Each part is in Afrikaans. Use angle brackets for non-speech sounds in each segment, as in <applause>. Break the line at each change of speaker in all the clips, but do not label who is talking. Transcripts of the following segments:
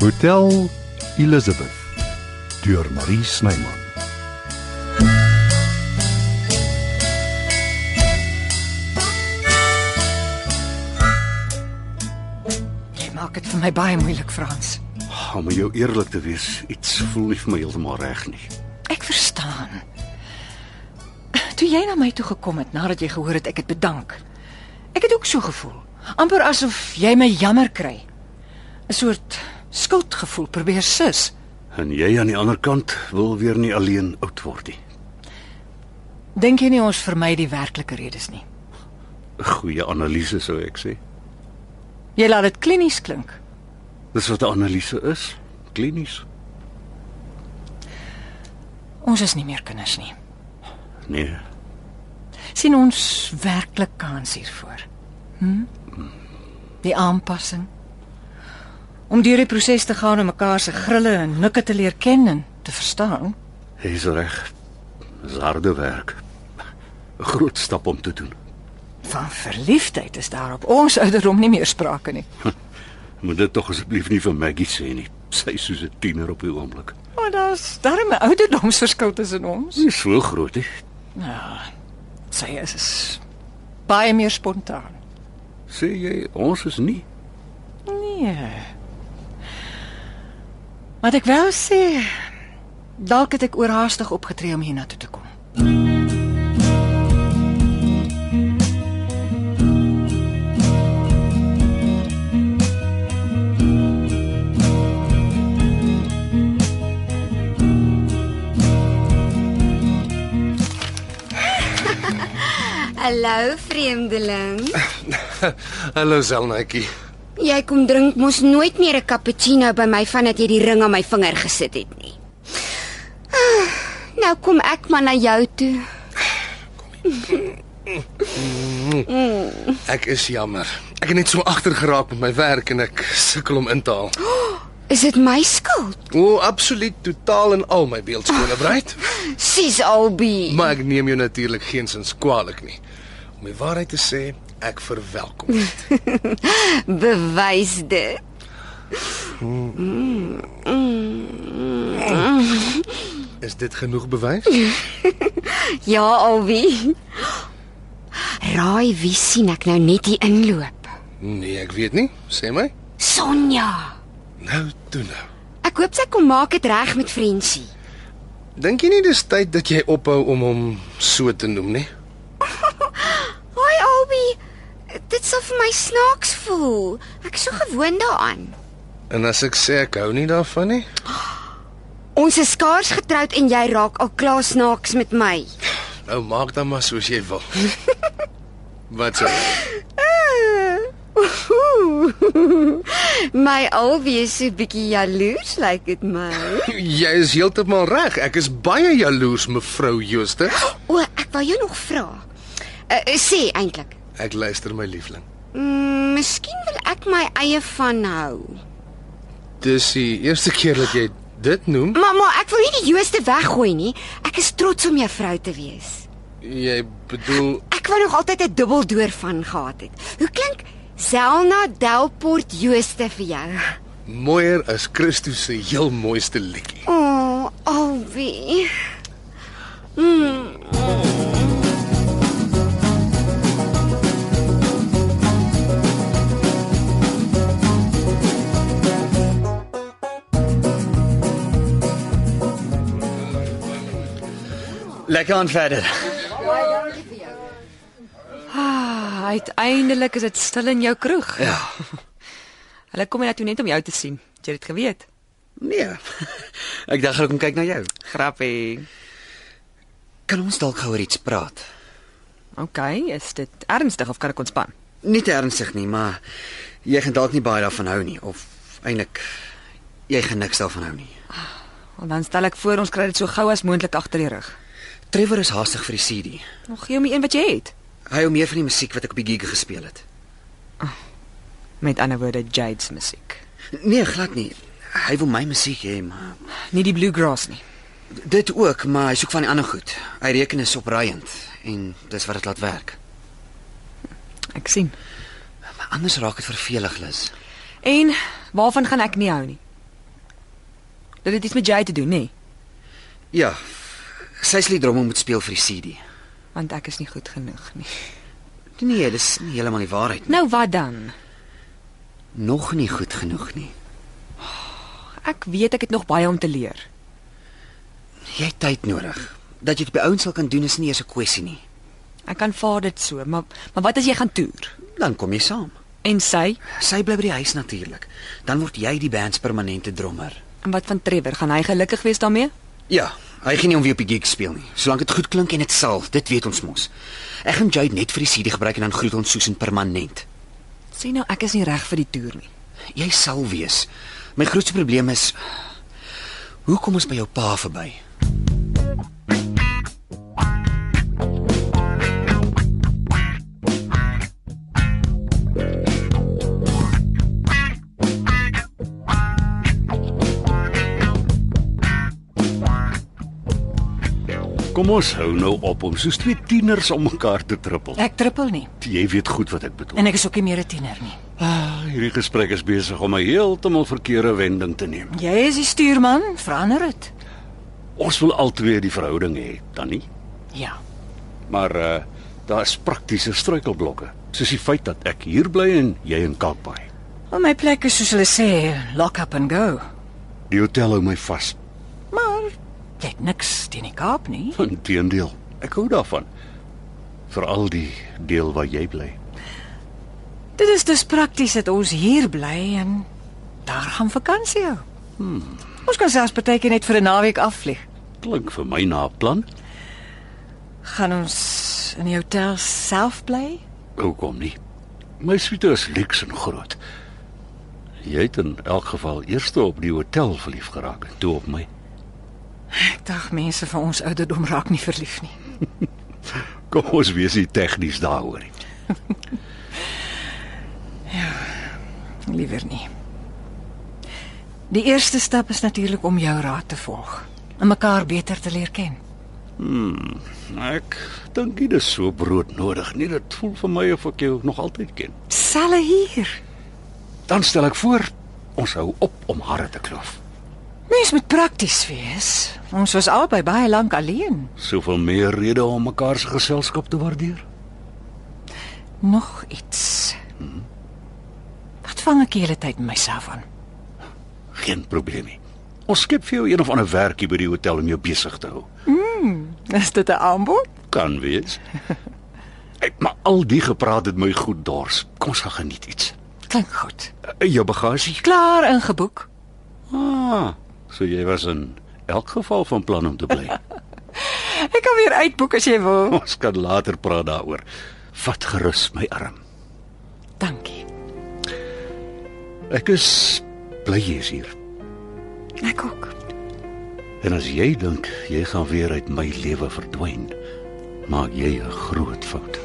Hotel Elizabeth deur Marie Snyman.
Jy maak dit vir my baie moeilik, Frans.
Ah, Om jou eerlik te wees, iets voel nie vir my heeltemal reg nie.
Ek verstaan. Toe jy na my toe gekom het nadat jy gehoor het ek het bedank. Ek het ook so gevoel, amper asof jy my jammer kry. 'n Soort skuldgevoel probeer sus.
En jy aan die ander kant wil weer nie alleen oud word nie.
Dink jy nie ons vermy die werklike redes nie?
'n Goeie analise sou ek sê.
Jy laat dit klinies klink.
Dis wat 'n analise is, klinies.
Ons is nie meer kinders nie.
Nee,
sien ons werklik kans hiervoor. Hm? Die aanpassing om deur die proses te gaan om mekaar se grille en nikke te leer ken en te verstaan.
jy's reg. Dis harde werk. 'n Groot stap om te doen.
Van verliefdheid is daar op ons ouderdom nie meer sprake nie.
Moet dit tog asseblief nie vir Maggie sê nie. Sy is soos 'n tiener op die oomblik.
Maar daar's darem 'n ouderdomsverskil tussen ons. Ja,
Sy is so groot, hè?
Sy is, is baie meer spontaan.
Sê jy ons is nie?
Nee. Wat ek wou sê, dalk het ek oorhaastig opgetree om hiernatoe te kom.
Hallo vreemdeling.
Hallo Zelnetjie.
Jy kom drink mos nooit meer 'n cappuccino by my vandat jy die ring aan my vinger gesit het nie. Ah, Nou kom ek maar na jou toe.
Ek is jammer. Ek het net so agter geraak met my werk en ek sukkel om in te haal.
Is dit my skuld?
O, absoluut totaal en al my beeldskone breed.
Sis Albie.
Maar ek neem jou natuurlik geensins kwaadlik nie. Om die waarheid te sê, ek verwelkom dit.
Bewys dit.
Is dit genoeg bewys?
Ja, Albie. Raai wie sien ek nou net hier inloop?
Nee, ek weet nie. Sê my.
Sonja.
Nou toe nou.
Ek hoop sy kom maak dit reg met Frensie.
Dink jy nie dis tyd dat jy ophou om hom so te noem nie?
Hoi Albie. Dit sal vir my snaaks voel. Ek is so gewoond daaraan.
En as ek sê ek hou nie daarvan nie,
Ons is skaars getroud en jy raak al klaar snaaks met my. <laughs>
nou maak dan maar soos jy wil. <laughs> Wat sê?
my alwees so bietjie jaloers lyk like dit my.
Jy is heeltemal reg. Ek is baie jaloers, mevrou Jooste.
O, ek wou jou nog vra. Uh, uh, sê eintlik.
Ek luister my liefling.
Mm, miskien wil ek my eie van hou.
Dis die eerste keer dat jy dit noem.
Mamma, ek wil nie die Jooste weggooi nie. Ek is trots om jou vrou te wees.
Jy bedoel
Ek wou nog altyd 'n dubbeldoor van gehad het. Hoe klink Zelna Delport Jooste vir jou?
mooier as Christus se heel mooiste liedjie.
O, oh, alweer. Hmm,
Lekker aan verder.
Ah, Uiteindelik is dit stil in jou kroeg.
Ja.
<laughs> Hulle kom net toe net om jou te sien. Het Jy het dit geweet.
Nee. <laughs> Ek dink ek kom kyk na jou.
Grappie.
Kan ons dalk gou oor iets praat?
OK, is dit ernstig of kan ek ontspan?
Nie te ernstig nie, maar jy gaan dalk nie baie daarvan hou nie of eintlik jy gaan niks daarvan hou nie.
Want dan stel ek voor ons kry dit so gou as moontlik agter die rug.
Trevor is haastig vir die CD.
Nog gee hom die een wat jy het.
Hy hou meer van die musiek wat ek op die gig gespeel het.
Met ander woorde Jade's musiek.
Nee, glad nie. Hy wil my musiek hê, maar
Nie die bluegrass nie.
dit ook, maar hy soek van die ander goed. Hy reken is op Ryan en dis wat dit laat werk.
Ek sien.
Maar anders raak dit vervelig, Lis.
En waarvan gaan ek nie hou nie? Dit het iets met Jay te doen, nê? Nee?
Ja. Sy sê dromme moet speel vir die CD.
Want ek is nie goed genoeg nie. <laughs>
Nee, dis nie heeltemal die waarheid nie.
Nou wat dan?
Nog nie goed genoeg nie.
Ek weet ek het nog baie om te leer.
Jy het tyd nodig. Dat jy dit by ouens sal kan doen is nie eers 'n kwessie nie.
Ek kan vaar dit so, maar maar wat as jy gaan toer?
Dan kom jy saam.
En sy?
Sy bly by die huis natuurlik. Dan word jy die band se permanente drummer.
En wat van Trevor? Gaan hy gelukkig wees daarmee?
Ja, hy gaan nie om wie op die gig speel nie. Solank dit goed klink en dit sal, dit weet ons mos. Ek gaan Jade net vir die CD gebruik en dan groet ons Susan permanent.
Sê nou ek is nie reg vir die toer nie.
Jy sal wees. My grootste probleem is hoe kom ons by jou pa verby?
Kom ons hou nou op om soos twee tieners om mekaar te trippel.
Ek trippel nie
Jy weet goed wat ek bedoel.
en ek is ook nie meer 'n tiener nie.
Ah, hierdie gesprek is besig om 'n heeltemal verkeerde wending te neem.
Jy is die stuurman, verander dit.
Ons wil albei die verhouding hê, dan nie?
Ja.
Maar uh daar's praktiese struikelblokke, soos die feit dat ek hier bly en jy in Kalkbaai.
Op my plek is soos hulle sê, lock up and go.
Die hotel hou my vas.
Maar jy het niks teen die Kaap nie.
Inteendeel, ek hou daarvan. Veral die deel waar jy bly.
Dit is dus prakties dat ons hier bly en daar gaan vakansie hou. Hmm. Ons kan selfs partykeer net vir 'n naweek afvlieg.
Klink vir my na 'n plan.
Gaan ons in die hotel self bly?
Hoekom nie? My suite is luks en groot. Jy het in elk geval eers op die hotel verlief geraak, en toe op my.
Ek dink mense van ons ouderdom raak nie verlief nie.
Kom ons wees nie tegnies daaroor nie.
Liewer nie. Die eerste stap is natuurlik om jou raad te volg en mekaar beter te leer ken.
Ek dink dit is so broodnodig. Nee, dit voel vir my of ek jou nog altyd ken.
Selle hier.
Dan stel ek voor ons hou op om harre te kloof.
Mens moet prakties wees. Ons was albei baie lank alleen.
Soveel meer rede om mekaar se geselskap te waardeer.
Nog iets. Wat vang ek die hele tyd myself aan?
Geen probleem nie. Ons skep vir jou een of ander werkie by die hotel om jou besig te hou.
Is dit 'n aanbod?
Kan wees. Ek maar al die gepraat het my goed dors. Kom ons gaan geniet iets.
Klink goed.
Eh, Jou bagasie?
Klaar ingeboek.
Ah, so jy was in elk geval van plan om te bly.
Ek kan weer uitboek as jy wil.
Ons kan later praat daaroor. Vat gerus my arm.
Dankie.
Ek is bly jy is hier.
Ek ook.
En as jy dink jy gaan weer uit my lewe verdwyn, maak jy 'n groot fout.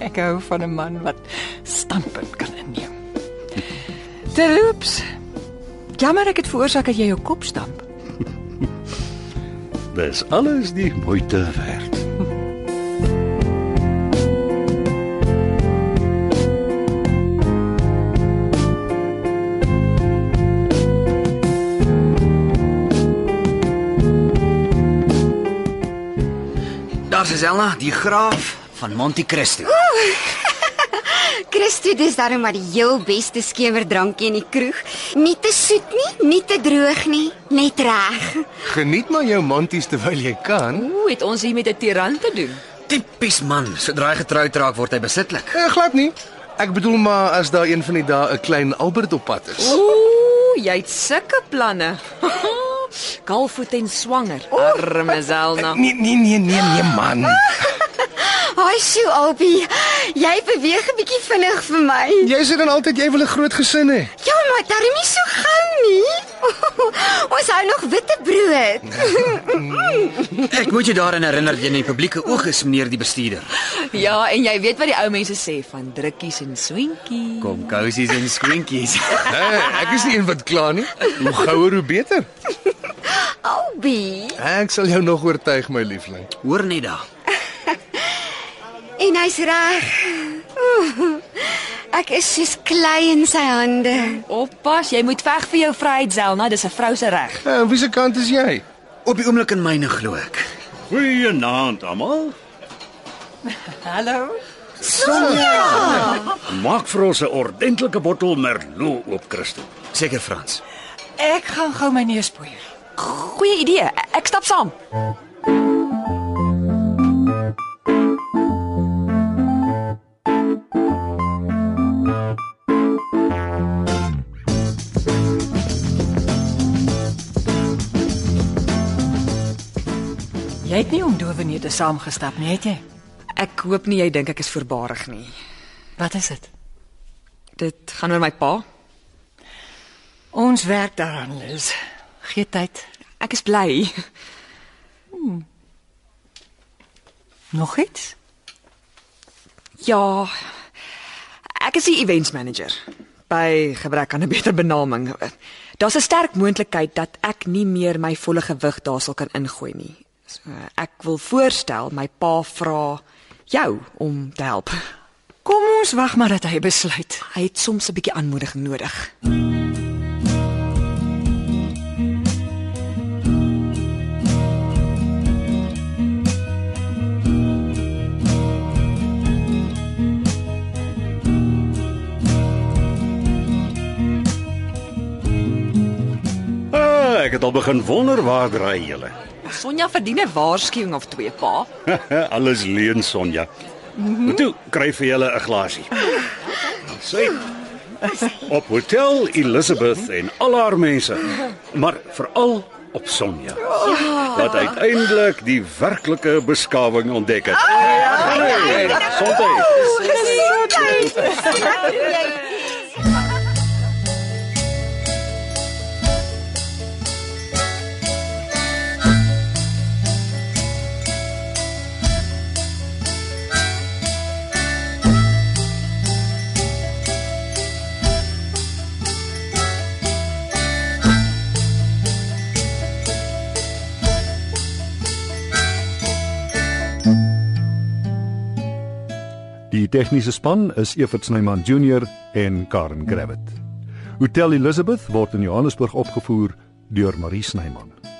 Ek hou van 'n man wat standpunt kan inneem. Terloops. Jammer ek het veroorsaak dat jy jou kop stamp.
Dis alles die moeite werd.
Daar's Elna, die graaf van Monte Cristo.
Christo, dis daarom maar die heel beste skemerdrankie in die kroeg. Nie te soet nie, nie te droog nie, net reg.
Geniet maar jou manties terwyl jy kan.
Hoe het ons hier met 'n tiran te doen?
Tipies man, sodra hy getroud raak word hy besitlik.
Eh, glad nie. Ek bedoel maar as daar een van die dae 'n klein Albert op pad is.
Ooh, jy het sulke <laughs> planne. Kalfvoet en swanger. Arme Zelna.
Nee nee nee nee nee man.
Haai, Sjoe Albie, jy beweeg 'n bietjie vinnig vir my.
Jy sê dan altyd jy wil 'n groot gesin hê.
Ja, maar daarom nie so gou nie. <laughs> Ons hou nog witbrood. <laughs>
Ek moet jou daaraan herinner dat jy in die publieke oog is, meneer die bestuurder.
Ja, en jy weet wat die ou mense sê van drukkies en swentjies.
Kom kousies en skoentjies.
Nee, ek is nie een wat kla nie. Hoe gouer hoe beter.
Albie.
Ek sal jou nog oortuig my liefling.
Hoor net daar.
En hy's reg. Oeh, Ek is soos klei in sy hande.
Oppas, jy moet veg vir jou vryheid, Zelna, dis 'n vrou se reg.
Eh,
En wie se kant is jy?
Op die oomblik in myne glo ek.
Goeienaand almal.
Hallo.
Maak vir ons 'n ordentlike bottel merlot oop, Christel.
Seker Frans.
Ek gaan gou my neus poeier.
Goeie idee. Ek stap saam.
Jy het nie om dowenhede saamgestap nie, het jy?
Ek hoop nie jy dink ek is voorbarig nie.
Wat is dit?
Dit gaan oor my pa.
Ons werk daaraan, Liz. Gee tyd.
Ek is bly.
Nog iets?
Ja. Ek is die events manager by gebrek aan 'n beter benaming. Daar's 'n sterk moontlikheid dat ek nie meer my volle gewig daarsal kan ingooi nie. So ek wil voorstel my pa vra jou om te help.
Kom ons wag maar dat hy besluit.
Hy het soms 'n bietjie aanmoediging nodig.
Ah, ek het al begin wonder waar draai julle.
Sonja verdien 'n waarskuwing of twee, pa.
<laughs> Alles leuen Sonja. Maar toe kry vir julle 'n glasie. Sê op Hotel Elizabeth en al haar mense, maar veral op Sonja. Wat uiteindelik die werklike beskawing ontdek het. Hey, Sonja.
Die tegniese span is Evert Snyman Junior en Karen Gravett. Hotel Elizabeth word in Johannesburg opgevoer deur Marie Snyman.